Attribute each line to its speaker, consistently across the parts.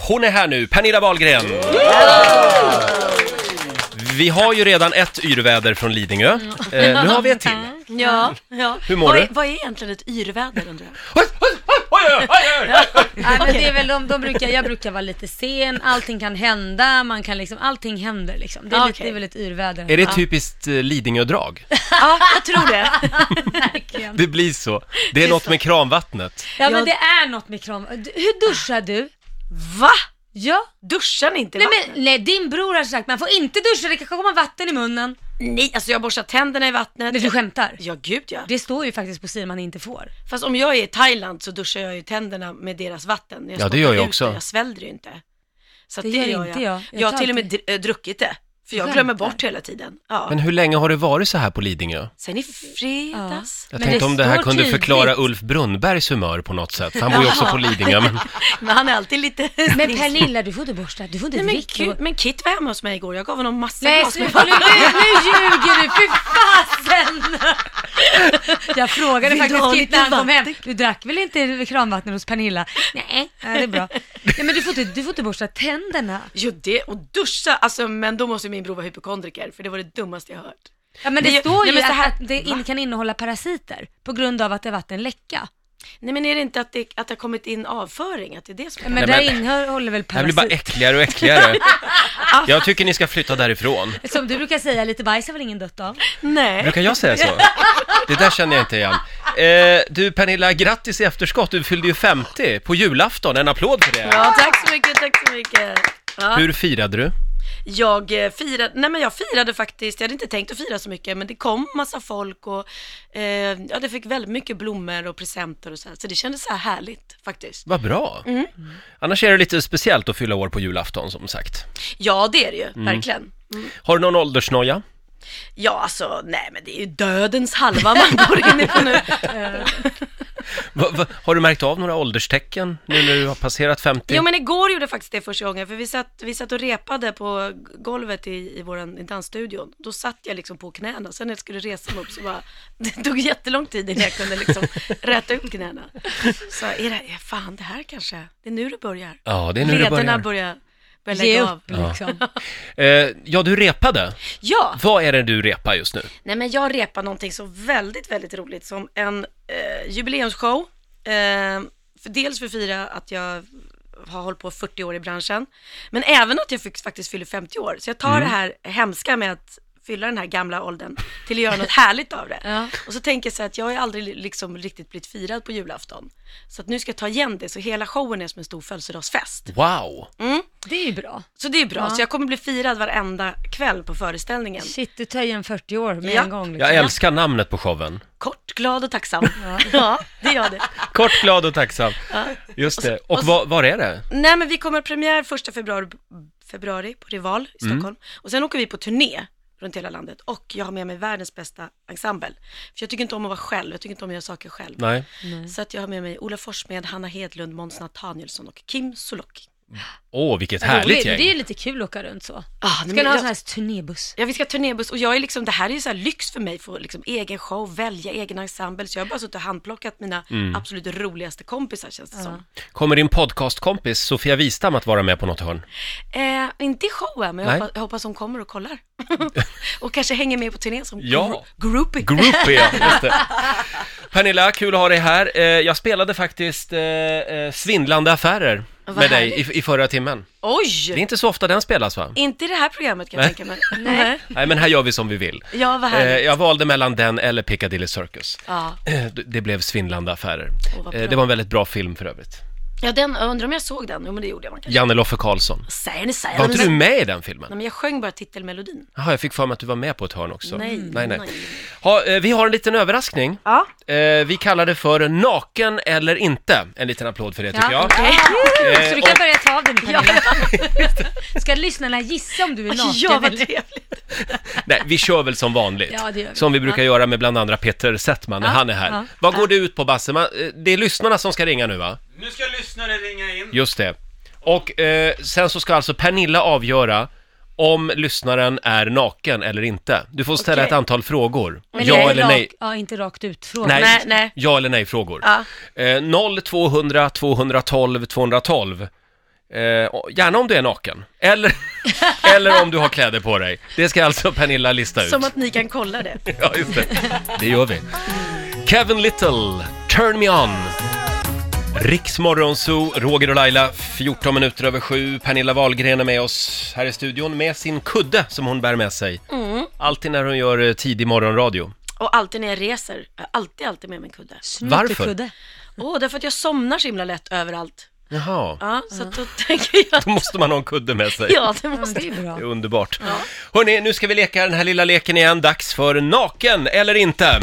Speaker 1: Hon är här nu, Pernilla Wahlgren! Vi har ju redan ett yrväder från Lidingö. Eh, nu har vi ett till.
Speaker 2: Mm.
Speaker 3: Ja, ja.
Speaker 1: Hur mår
Speaker 3: vad,
Speaker 1: du?
Speaker 3: Är, vad är egentligen ett yrväder undrar jag?
Speaker 1: Oj, oj, oj, oj, oj, oj.
Speaker 2: Nej, men det är väl de, de brukar, jag brukar vara lite sen, allting kan hända, man kan liksom, allting händer liksom. Det är, lite,
Speaker 3: Okej.
Speaker 2: det är väl ett yrväder.
Speaker 1: Är det typiskt eh, Lidingö-drag?
Speaker 3: Ja, jag tror det.
Speaker 2: Verkligen.
Speaker 1: Det blir så. Det är något med kranvattnet.
Speaker 2: Ja men det är något med kram. Du- Hur duschar du?
Speaker 3: Va?
Speaker 2: Ja.
Speaker 3: Duschar ni inte i
Speaker 2: Nej
Speaker 3: vatten?
Speaker 2: men nej, din bror har sagt man får inte duscha, det kan komma vatten i munnen.
Speaker 3: Nej, alltså jag borstar tänderna i vattnet.
Speaker 2: Nej, du skämtar?
Speaker 3: Ja, gud ja.
Speaker 2: Det står ju faktiskt på sidan man inte får.
Speaker 3: Fast om jag är i Thailand så duschar jag ju tänderna med deras vatten. Jag
Speaker 1: Ja, det
Speaker 3: spottar
Speaker 1: gör jag
Speaker 3: ut
Speaker 1: också.
Speaker 3: det, Jag sväljer ju inte. Så att
Speaker 2: Det gör inte jag.
Speaker 3: Jag,
Speaker 2: Jag
Speaker 3: har
Speaker 2: tar
Speaker 3: till och med dr- eh, druckit det, för jag glömmer
Speaker 2: Skämtar.
Speaker 3: bort hela tiden. Ja.
Speaker 1: Men hur länge har det varit så här på Lidingö?
Speaker 3: Sen i fredags.
Speaker 1: Jag
Speaker 2: Men
Speaker 1: tänkte
Speaker 2: det
Speaker 1: om det här
Speaker 2: står
Speaker 1: kunde
Speaker 2: tydligt.
Speaker 1: förklara Ulf Brunnbergs humör på något sätt. Han bor ju också på Lidingö, men
Speaker 3: Men han är alltid lite...
Speaker 2: Men Pernilla du får inte borsta, du får inte
Speaker 3: Nej, men,
Speaker 2: dricka.
Speaker 3: Kit, men Kit var hemma hos mig igår, jag gav honom massa
Speaker 2: Nej
Speaker 3: glas med
Speaker 2: sluta nu, nu, nu ljuger du, fy fasen! Jag frågade
Speaker 3: Vill du ha
Speaker 2: faktiskt Kit
Speaker 3: lite
Speaker 2: när han kom hem,
Speaker 3: vatten?
Speaker 2: du drack väl inte kranvatten hos Pernilla? Nej, Nej, det är bra. Nej men du får inte, du får inte borsta tänderna.
Speaker 3: Jo det, och duscha, alltså men då måste ju min bror vara hypokondriker för det var det dummaste jag hört.
Speaker 2: Ja men det
Speaker 3: Nej,
Speaker 2: står
Speaker 3: nej,
Speaker 2: ju
Speaker 3: men så här-
Speaker 2: att, att det in, kan innehålla parasiter på grund av att det är vattenläcka.
Speaker 3: Nej men är det inte att det, att det har kommit in avföring, att det är det som
Speaker 2: Men
Speaker 3: är
Speaker 1: Nej,
Speaker 2: där
Speaker 1: men-
Speaker 2: innehåller väl
Speaker 1: det här blir bara
Speaker 2: parasiter.
Speaker 1: äckligare och äckligare. Jag tycker ni ska flytta därifrån.
Speaker 2: Som du brukar säga, lite bajs har väl ingen dött av?
Speaker 3: Nej.
Speaker 1: Brukar jag säga så? Det där känner jag inte igen. Eh, du Pernilla, grattis i efterskott. Du fyllde ju 50 på julafton. En applåd för det.
Speaker 3: Ja, tack så mycket, tack så mycket. Ja.
Speaker 1: Hur firade du?
Speaker 3: Jag eh, firade, nej men jag firade faktiskt, jag hade inte tänkt att fira så mycket, men det kom massa folk och eh, ja, det fick väldigt mycket blommor och presenter och så här, så det kändes så här härligt faktiskt.
Speaker 1: Vad bra. Annars är det lite speciellt att fylla år på julafton som sagt.
Speaker 3: Ja, det är det ju, verkligen.
Speaker 1: Har du någon åldersnoja?
Speaker 3: Ja, alltså, nej men det är ju dödens halva man går in i på nu.
Speaker 1: Va, va, har du märkt av några ålderstecken nu när du har passerat 50?
Speaker 3: Jo men igår gjorde jag faktiskt det första gången, för vi satt, vi satt och repade på golvet i, i våran i dansstudion. Då satt jag liksom på knäna, sen när jag skulle resa mig upp så bara, det tog jättelång tid innan jag kunde liksom räta ut knäna. Så är det, är fan det här kanske, det är nu det börjar.
Speaker 1: Ja, det är nu det
Speaker 3: Lederna
Speaker 1: börjar.
Speaker 3: börjar, börjar
Speaker 2: Ge
Speaker 3: lägga av.
Speaker 2: upp liksom.
Speaker 1: Eh, ja, du repade.
Speaker 3: Ja,
Speaker 1: Vad är det du repar just nu?
Speaker 3: nej men jag repar någonting så väldigt, väldigt roligt som en eh, jubileumsshow. Eh, för dels för att fira att jag har hållit på 40 år i branschen, men även att jag fick, faktiskt fyller 50 år. Så jag
Speaker 2: Mm.
Speaker 3: tar det här hemska med att fylla den här gamla åldern till att göra något härligt av det.
Speaker 2: Ja.
Speaker 3: Och så tänker jag så här att jag har ju aldrig liksom riktigt blivit firad på julafton. Så att nu ska jag ta igen det, så hela showen är som en stor födelsedagsfest.
Speaker 1: Wow!
Speaker 2: Det är ju bra.
Speaker 3: Så det är bra, så jag kommer bli firad varenda kväll på föreställningen.
Speaker 2: Shit, du tar igen 40 år med
Speaker 3: Ja.
Speaker 2: en gång.
Speaker 1: Jag
Speaker 2: Liksom.
Speaker 1: älskar namnet på showen.
Speaker 3: Kort, glad och tacksam. ja, det gör det.
Speaker 1: Kort, glad och tacksam. Just det. Och vad, var är det?
Speaker 3: Nej, men vi kommer ha premiär första februari, februari på Rival i Stockholm. Och sen åker vi på turné runt hela landet. Och jag har med mig världens bästa ensemble. För jag tycker inte om att vara själv, jag tycker inte om att göra saker själv.
Speaker 1: Nej.
Speaker 3: Så att jag har med mig Ola Forssmed, Hanna Hedlund, Måns Nathanielsson och Kim Sulocki.
Speaker 1: Åh, vilket
Speaker 2: Roligt,
Speaker 1: härligt
Speaker 2: men Det är ju
Speaker 1: gäng.
Speaker 2: lite kul att åka runt så.
Speaker 3: Ah, nej,
Speaker 2: Ska
Speaker 3: men
Speaker 2: ni ha
Speaker 3: jag-
Speaker 2: sån här turnébuss?
Speaker 3: Ja, vi ska ha turnébuss och jag är liksom, det här är ju så här lyx för mig, att få liksom egen show, välja egen ensemble. Så jag har bara suttit och handplockat mina absolut roligaste kompisar känns det som.
Speaker 1: Kommer din podcastkompis Sofia Wistam att vara med på något hörn?
Speaker 3: Eh, inte i showen, men jag
Speaker 1: Nej.
Speaker 3: hoppas, jag hoppas hon kommer och kollar. och kanske hänger med på turnén som
Speaker 1: Ja.
Speaker 3: gro- groupie.
Speaker 1: Groupie, ja, just det. Pernilla, kul att ha dig här. Eh, Jag spelade faktiskt eh, eh, Svindlande affärer
Speaker 3: Vad
Speaker 1: med dig
Speaker 3: härligt.
Speaker 1: i, i förra timmen.
Speaker 3: Oj!
Speaker 1: Det är inte så ofta den spelas va?
Speaker 3: Inte i det här programmet kan jag tänka mig. Nej.
Speaker 1: Nej, men här gör vi som vi vill.
Speaker 3: Ja, vad
Speaker 1: Eh,
Speaker 3: härligt.
Speaker 1: Jag valde mellan den eller Piccadilly Circus.
Speaker 3: Ja.
Speaker 1: Eh, Det blev Svindlande affärer.
Speaker 3: Åh, vad
Speaker 1: Eh,
Speaker 3: bra.
Speaker 1: det var en väldigt bra film för övrigt. jag
Speaker 3: ja, den, jag undrar om jag såg den? Jo, men det gjorde jag. Man kan...
Speaker 1: Janne Loffe Karlsson.
Speaker 3: Säger ni, säger
Speaker 1: Var inte du
Speaker 3: men...
Speaker 1: med i den filmen?
Speaker 3: Nej, men jag sjöng bara titelmelodin.
Speaker 1: Jaha, jag fick för mig att du var med på ett hörn också.
Speaker 3: Nej,
Speaker 1: nej. nej.
Speaker 3: nej.
Speaker 1: Ha, eh, vi har en liten överraskning.
Speaker 3: Ja.
Speaker 1: Eh, vi kallar det för Naken eller inte. En liten applåd för det tycker jag.
Speaker 3: Okej.
Speaker 1: Eh,
Speaker 2: Så du kan
Speaker 1: och-
Speaker 2: börja ta av den Pernilla. Ska lyssnarna gissa om du är naken
Speaker 3: Ja, vad
Speaker 2: eller?
Speaker 3: trevligt.
Speaker 1: Nej, vi kör väl som vanligt.
Speaker 2: Ja, det gör vi.
Speaker 1: Som vi brukar göra med bland andra Peter Settman när
Speaker 2: Ja,
Speaker 1: han är här.
Speaker 2: ja.
Speaker 1: Vad går det ut på, Basse? Man, eh, det är lyssnarna som ska ringa nu, va?
Speaker 4: Nu ska lyssnare ringa in.
Speaker 1: Just det. Och eh, sen så ska alltså Pernilla avgöra om lyssnaren är naken eller inte. Du får ställa
Speaker 3: Okej.
Speaker 1: ett antal frågor.
Speaker 2: Men
Speaker 1: ja
Speaker 2: inte
Speaker 1: eller
Speaker 2: rak-
Speaker 1: nej.
Speaker 2: Ja, inte rakt ut frågan.
Speaker 1: Nej. Eh,
Speaker 3: Nej, nej.
Speaker 1: Ja eller nej-frågor.
Speaker 3: Ja.
Speaker 1: Eh, 0 200 212 212 Eh, och gärna om du är naken. Eller, eller om du har kläder på dig. Det ska alltså Pernilla lista ut.
Speaker 3: Som att ni kan kolla det.
Speaker 1: Ja, just det. Det gör vi. Kevin Little, Turn Me On. Riksmorgon Zoo, Roger och Laila, 14 minuter över sju. Pernilla Wahlgren är med oss här i studion med sin kudde som hon bär med sig.
Speaker 3: Mm.
Speaker 1: Alltid när hon gör eh, tidig morgonradio.
Speaker 3: Och alltid när jag reser, jag har alltid, alltid med mig en kudde.
Speaker 1: Varför?
Speaker 3: Åh, därför att jag somnar så himla lätt överallt.
Speaker 1: Jaha,
Speaker 3: Ja, så att då tänker jag...
Speaker 1: då måste man ha en kudde med sig.
Speaker 3: Ja, det
Speaker 2: Ja,
Speaker 3: måste
Speaker 2: det är bra.
Speaker 1: Det är underbart. Hörrni, nu ska vi leka den här lilla leken igen. Dags för Naken eller inte.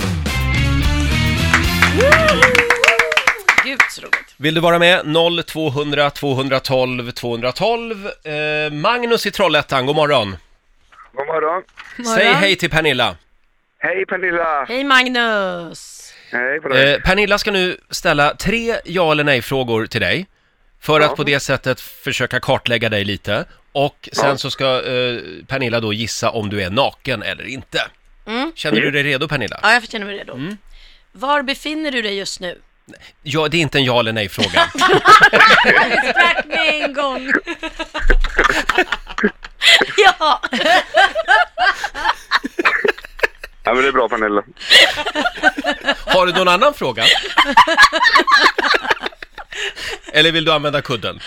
Speaker 3: Gud så roligt.
Speaker 1: Vill du vara med? 0 200 212 212. Eh, Magnus i Trollhättan, god morgon.
Speaker 5: God morgon.
Speaker 1: Säg hej till Pernilla.
Speaker 5: Hej Pernilla!
Speaker 3: Hej Magnus!
Speaker 5: Hej på dig.
Speaker 1: Eh, Pernilla ska nu ställa tre ja eller nej-frågor till dig. För att på det sättet försöka kartlägga dig lite. Och sen så ska eh, Pernilla då gissa om du är naken eller inte. Känner du dig redo Pernilla?
Speaker 3: Ja, jag känner mig redo. Var befinner du dig just nu?
Speaker 1: Ja, det är inte en ja eller nej-fråga.
Speaker 2: Sprack med en gång.
Speaker 3: Ja,
Speaker 5: Ja men det är bra Pernilla.
Speaker 1: Har du någon annan fråga? Eller vill du använda kudden?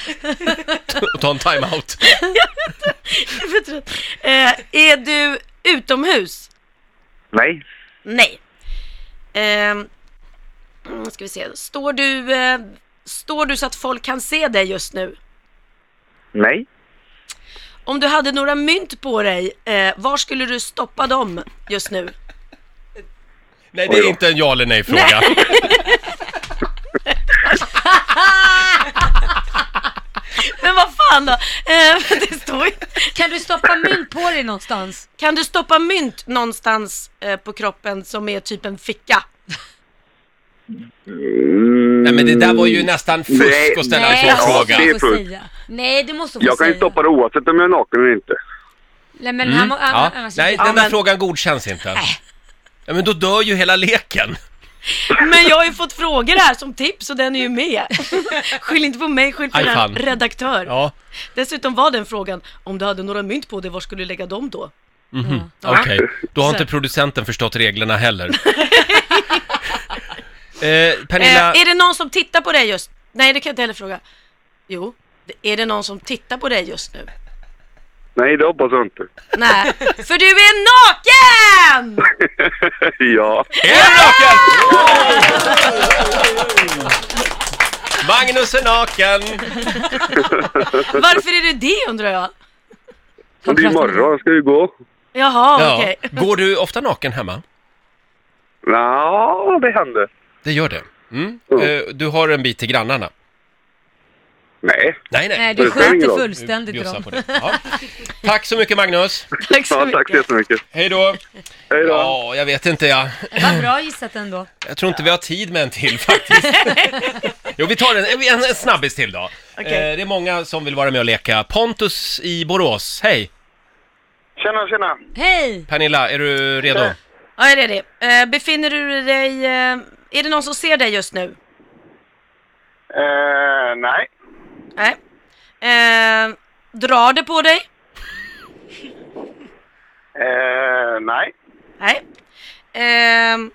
Speaker 1: Och ta en time-out?
Speaker 3: jag är för trött. eh, Är du utomhus?
Speaker 5: Nej.
Speaker 3: Nej. Ehm, mm, ska vi se. Står du, eh, står du så att folk kan se dig just nu?
Speaker 5: Nej.
Speaker 3: Om du hade några mynt på dig, eh, var skulle du stoppa dem just nu?
Speaker 1: Nej, det är inte en ja eller nej-fråga.
Speaker 3: Men vad fan då? Eh, det står ju...
Speaker 2: Kan du stoppa mynt på dig någonstans?
Speaker 3: Kan du stoppa mynt någonstans eh, på kroppen som är typ en ficka?
Speaker 1: Nej, men det där var ju nästan fusk
Speaker 5: Nej.
Speaker 1: att ställa en sån
Speaker 5: ja,
Speaker 1: fråga.
Speaker 5: det-
Speaker 2: du
Speaker 5: är
Speaker 2: måste få
Speaker 5: punkt.
Speaker 2: säga. Nej, du måste få
Speaker 5: Mm. Jag kan ju
Speaker 2: säga.
Speaker 5: stoppa det oavsett om jag är naken eller inte.
Speaker 2: Nej, men han, må- han,
Speaker 1: Mm. Ja.
Speaker 2: han,
Speaker 1: Nej,
Speaker 3: Ja,
Speaker 1: den där
Speaker 3: men-
Speaker 1: frågan godkänns inte. Ja, men då dör ju hela leken.
Speaker 3: Men jag har ju fått frågor här som tips och den är ju med. Skyll inte på mig, skyll på
Speaker 1: Aj,
Speaker 3: den
Speaker 1: fan.
Speaker 3: redaktör.
Speaker 1: Ja,
Speaker 3: Dessutom var den frågan, om du hade några mynt på dig, var skulle du lägga dem då?
Speaker 1: okej. Då har
Speaker 3: Så-
Speaker 1: inte producenten förstått reglerna heller. Eh,
Speaker 3: Eh,
Speaker 1: Pernilla,
Speaker 3: är det någon som tittar på dig just Nej, det kan jag inte heller fråga. Jo, det- är det någon som tittar på dig just nu?
Speaker 5: Nej, det hoppas jag inte.
Speaker 3: Nej, för du är naken!
Speaker 5: ja.
Speaker 1: är du naken? Magnus är naken!
Speaker 3: Varför är du det undrar jag?
Speaker 5: Men det är imorgon, ska vi gå?
Speaker 3: Jaha,
Speaker 1: Ja.
Speaker 3: okej.
Speaker 1: Går du ofta naken hemma?
Speaker 5: Ja, det händer.
Speaker 1: Det gör det. Mm. Eh, Du har en bit till grannarna?
Speaker 5: Nej.
Speaker 1: Nej, nej.
Speaker 2: Nej, du
Speaker 5: Det spelar ingen
Speaker 2: skjuter
Speaker 5: roll.
Speaker 2: fullständigt i
Speaker 1: Bjussa
Speaker 2: dem.
Speaker 1: på det. Ja. Tack så mycket Magnus.
Speaker 3: Tack så
Speaker 5: Ja, tack så
Speaker 3: mycket.
Speaker 5: jättemycket.
Speaker 1: Hej då.
Speaker 5: Hej då.
Speaker 1: Ja, jag vet inte jag.
Speaker 2: Det var bra gissat ändå.
Speaker 1: Jag tror inte vi har tid med en till faktiskt. Jo, vi tar en, en, en snabbis till då.
Speaker 3: Okej.
Speaker 1: Eh, det är många som vill vara med och leka. Pontus i Borås, hej!
Speaker 5: Tjena, tjena.
Speaker 2: Hej!
Speaker 1: Pernilla, är du redo?
Speaker 3: Ja, är det det? Eh, befinner du dig... Eh, är det någon som ser dig just nu?
Speaker 5: Eh, nej.
Speaker 3: Nej. Eh, drar det på dig?
Speaker 5: Eh, nej.
Speaker 3: Nej. Ehm,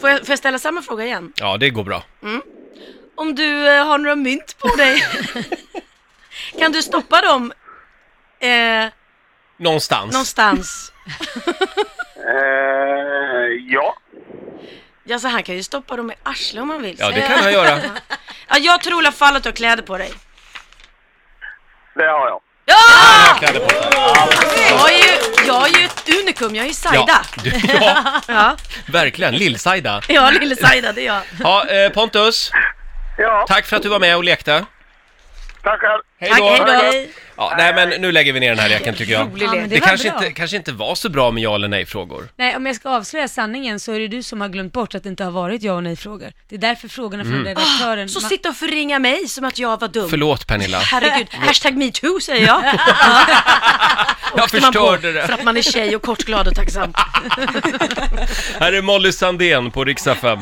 Speaker 3: får, jag, får jag ställa samma fråga igen?
Speaker 1: Ja, det går bra.
Speaker 3: Om du eh, har några mynt på dig, kan du stoppa dem eh,
Speaker 1: Någonstans.
Speaker 3: någonstans?
Speaker 5: Eh, ja.
Speaker 3: Ja, så han kan ju stoppa dem i arslet om han vill.
Speaker 1: Ja, det kan jag göra.
Speaker 3: ja, jag tror i alla fall att du har kläder på dig.
Speaker 5: Det har jag.
Speaker 3: Ja!
Speaker 1: Kläder på.
Speaker 3: Jag är ju, jag är ju ett unikum, jag är ju
Speaker 1: Ja,
Speaker 3: Saida.
Speaker 1: du, ja,
Speaker 3: Ja,
Speaker 1: verkligen. Lill-Saida.
Speaker 3: ja lille Saida, det är jag.
Speaker 1: Ja, eh, Pontus,
Speaker 5: Ja,
Speaker 1: tack för att du var med och lekte.
Speaker 5: tack själv.
Speaker 1: Hej
Speaker 3: Tack,
Speaker 1: då!
Speaker 3: hej då.
Speaker 1: Ja, nej men nu lägger vi ner den här leken tycker jag.
Speaker 3: Rolig
Speaker 2: Ja,
Speaker 3: lek.
Speaker 2: men
Speaker 1: Det
Speaker 2: var
Speaker 1: kanske
Speaker 2: bra.
Speaker 1: inte, kanske inte var så bra med ja eller nej-frågor.
Speaker 2: Nej, om jag ska avslöja sanningen så är det du som har glömt bort att det inte har varit ja och nej-frågor. Det är därför frågorna
Speaker 1: Mm.
Speaker 2: från
Speaker 1: Ah,
Speaker 2: redaktören...
Speaker 3: Så
Speaker 2: Ma-
Speaker 3: sitta och förringa mig som att jag var dum.
Speaker 1: Förlåt Pernilla.
Speaker 3: Herregud, hashtag metoo säger jag.
Speaker 1: Jag
Speaker 3: Åkte man på
Speaker 1: förstörde det.
Speaker 3: För att man är tjej och kort, glad och tacksam.
Speaker 1: Här är Molly Sandén på Riksa 5.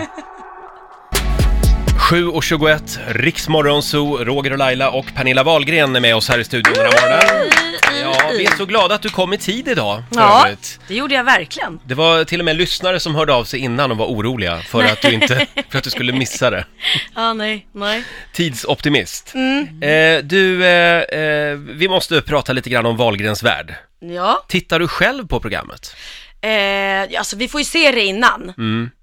Speaker 1: 7.21, Riksmorgonzoo, Roger och Laila och Pernilla Wahlgren är med oss här i studion den här morgonen. Ja, vi är så glada att du kom i tid idag för
Speaker 3: Mm, Ja,
Speaker 1: övrigt.
Speaker 3: det gjorde jag verkligen.
Speaker 1: Det var till och med lyssnare som hörde av sig innan och var oroliga för att du, inte, för att du skulle missa det.
Speaker 3: Ja, nej, nej.
Speaker 1: Tidsoptimist.
Speaker 3: Mm.
Speaker 1: Eh, du, eh, eh, vi måste prata lite grann om Wahlgrens värld.
Speaker 3: Ja,
Speaker 1: Tittar du själv på programmet?
Speaker 3: eh, alltså vi får ju se det innan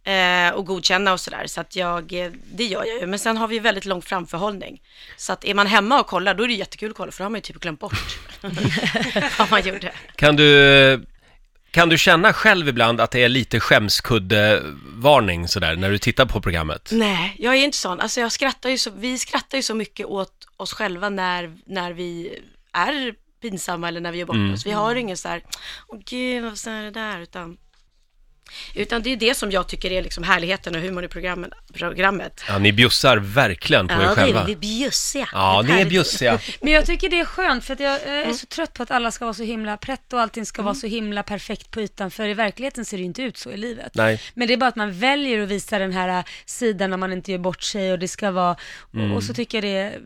Speaker 3: eh, och godkänna och sådär. Så att jag, eh, det gör jag ju. Men sen har vi ju väldigt lång framförhållning. Så att är man hemma och kollar, då är det jättekul att kolla, för då har man ju typ glömt bort vad man gjorde.
Speaker 1: Kan du, kan du känna själv ibland att det är lite skämskuddevarning sådär när du tittar på programmet?
Speaker 3: Nej, jag är inte sån. Alltså jag skrattar ju så, vi skrattar ju så mycket åt oss själva när, när vi är pinsamma eller när vi gör bort
Speaker 1: Mm.
Speaker 3: oss. Vi har ju ingen så här, åh gud, varför är det där? Utan, utan det är det som jag tycker är liksom härligheten och humorn i programmen, programmet.
Speaker 1: Ja, ni bjussar verkligen på er
Speaker 3: det
Speaker 1: själva.
Speaker 3: är, vi är bjussiga.
Speaker 1: Ja,
Speaker 3: Det
Speaker 1: ni är
Speaker 3: härligt.
Speaker 1: bjussiga.
Speaker 2: Men jag tycker det är skönt för att jag eh, är så trött på att alla ska vara så himla pretto och allting ska vara så himla perfekt på ytan för i verkligheten ser det ju inte ut så i livet.
Speaker 1: Nej.
Speaker 2: Men det är bara att man väljer att visa den här eh, sidan när man inte gör bort sig och det ska vara, och, och så tycker jag det är,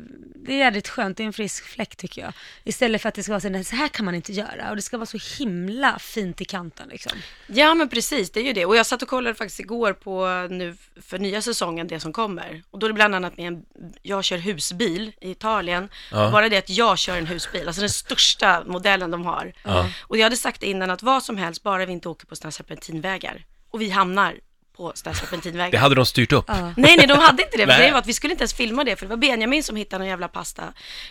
Speaker 2: det är jävligt skönt, det är en frisk fläkt tycker jag. Istället för att det ska vara så, nej, så här kan man inte göra och det ska vara så himla fint i kanten liksom.
Speaker 3: Ja, men precis, det är ju det. Och jag satt och kollade faktiskt igår på nu för nya säsongen, det som kommer. Och då är det bland annat med en, jag kör husbil i Italien.
Speaker 1: Ja.
Speaker 3: Bara det att jag kör en husbil, alltså den största modellen de har.
Speaker 1: Ja.
Speaker 3: Och jag hade sagt innan att vad som helst, bara vi inte åker på sådana här serpentinvägar. Och vi hamnar på sådana här
Speaker 1: Det
Speaker 3: serpentinvägar.
Speaker 1: hade de styrt upp.
Speaker 3: Nej, nej, de hade inte det. För
Speaker 1: Nej.
Speaker 3: grejen var att vi skulle inte ens filma det, för det var Benjamin som hittade någon jävla pasta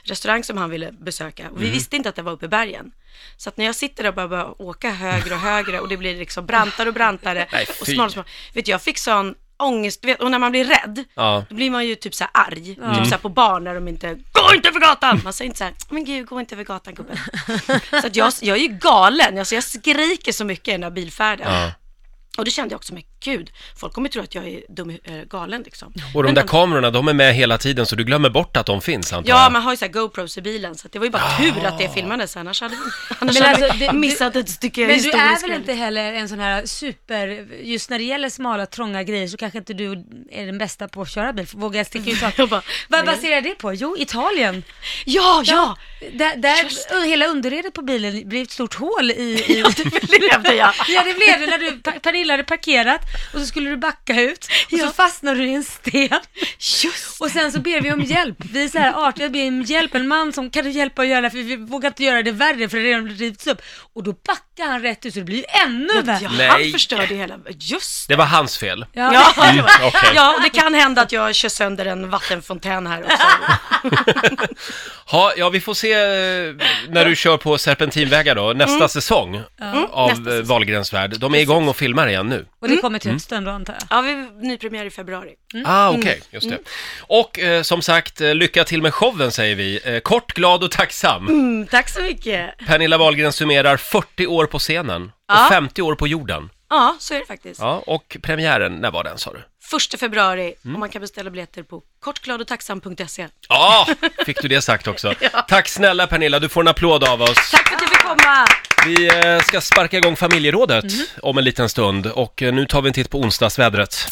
Speaker 3: restaurang som han ville besöka.
Speaker 1: Mm.
Speaker 3: Och vi visste inte att det var uppe i bergen. Så att när jag sitter där och bara börjar åka högre och högre och det blir liksom brantare och brantare
Speaker 1: Nej,
Speaker 3: och
Speaker 1: fy.
Speaker 3: smal, smal. Vet du, jag fick sån ångest, du vet, och när man blir rädd,
Speaker 1: Ja.
Speaker 3: då blir man ju typ så här arg. Typ så här på barn när de inte, gå inte över gatan! Man säger inte så här, men gud, gå inte över gatan gubben. så att jag, jag är ju galen, alltså jag skriker så mycket i den här bilfärden.
Speaker 1: Ja.
Speaker 3: Och det kände jag också, men gud, folk kommer tro att jag är dum, i- eh, galen liksom.
Speaker 1: Och de
Speaker 3: Men
Speaker 1: där kamerorna, de är med hela tiden så du glömmer bort att de finns antar
Speaker 3: Ja,
Speaker 1: jag.
Speaker 3: man har ju så här GoPros i bilen, så att det var ju bara tur att det filmades, annars hade, annars
Speaker 2: Men
Speaker 3: hade
Speaker 2: alltså, det-
Speaker 3: vi missat ett stycke
Speaker 2: Men du är
Speaker 3: historisk
Speaker 2: väl inte heller en sån här super, just när det gäller smala, trånga grejer så kanske inte du är den bästa på att köra bil, vågar jag sticka ut
Speaker 3: Jag bara,
Speaker 2: hakan? Vad
Speaker 3: nej.
Speaker 2: baserar det på? Jo, Italien.
Speaker 3: Ja, ja!
Speaker 2: Där, där hela underredet på bilen blev ett stort hål i... i...
Speaker 3: Ja, det blev jag.
Speaker 2: Ja det blev det när du, Pa- Pernilla hade parkerat och så skulle du backa ut och så fastnade du i en sten.
Speaker 3: Just
Speaker 2: Och sen så ber vi om hjälp. Vi är så här artiga, ber om hjälp. En man som kan du hjälpa att göra det här? för vi vågar inte göra det värre för det har redan rivits upp. Och då backar han rätt ut så det blir ju ännu
Speaker 3: det.
Speaker 2: värre.
Speaker 3: Ja,
Speaker 1: Nej.
Speaker 3: han förstörde hela... Just det.
Speaker 1: Det var hans fel.
Speaker 2: Ja.
Speaker 3: Ja, det var-
Speaker 1: okej.
Speaker 3: ja, och det kan hända att jag kör sönder en vattenfontän här också.
Speaker 1: Ha, ja, vi får se eh, när du kör på serpentinvägar då, nästa säsong av
Speaker 3: Mm. nästa
Speaker 1: eh, Wahlgrens värld. De är igång och filmar igen nu.
Speaker 2: Och det kommer till hösten då antar jag.
Speaker 3: Ja, vi nypremiär i februari.
Speaker 1: Ah,
Speaker 3: Mm.
Speaker 1: okej, just det. Och eh, som sagt, eh, lycka till med showen säger vi. Eh, kort, glad och tacksam.
Speaker 3: Mm, tack så mycket.
Speaker 1: Pernilla Wahlgren summerar 40 år på scenen
Speaker 3: Ja.
Speaker 1: och 50 år på jorden.
Speaker 3: Ja, så är det faktiskt.
Speaker 1: Ja, och premiären, när var den sa du?
Speaker 3: Första februari och man kan beställa biljetter på kortgladotacksam.se.
Speaker 1: Ja, fick du det sagt också. Tack snälla Pernilla, du får en applåd av oss.
Speaker 3: Tack för att du fick komma!
Speaker 1: Vi eh, ska sparka igång familjerådet
Speaker 3: Mm.
Speaker 1: om en liten stund och eh, nu tar vi en titt på onsdagsvädret.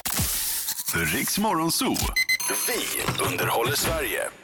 Speaker 6: Riks Morgonzoo. Vi underhåller Sverige.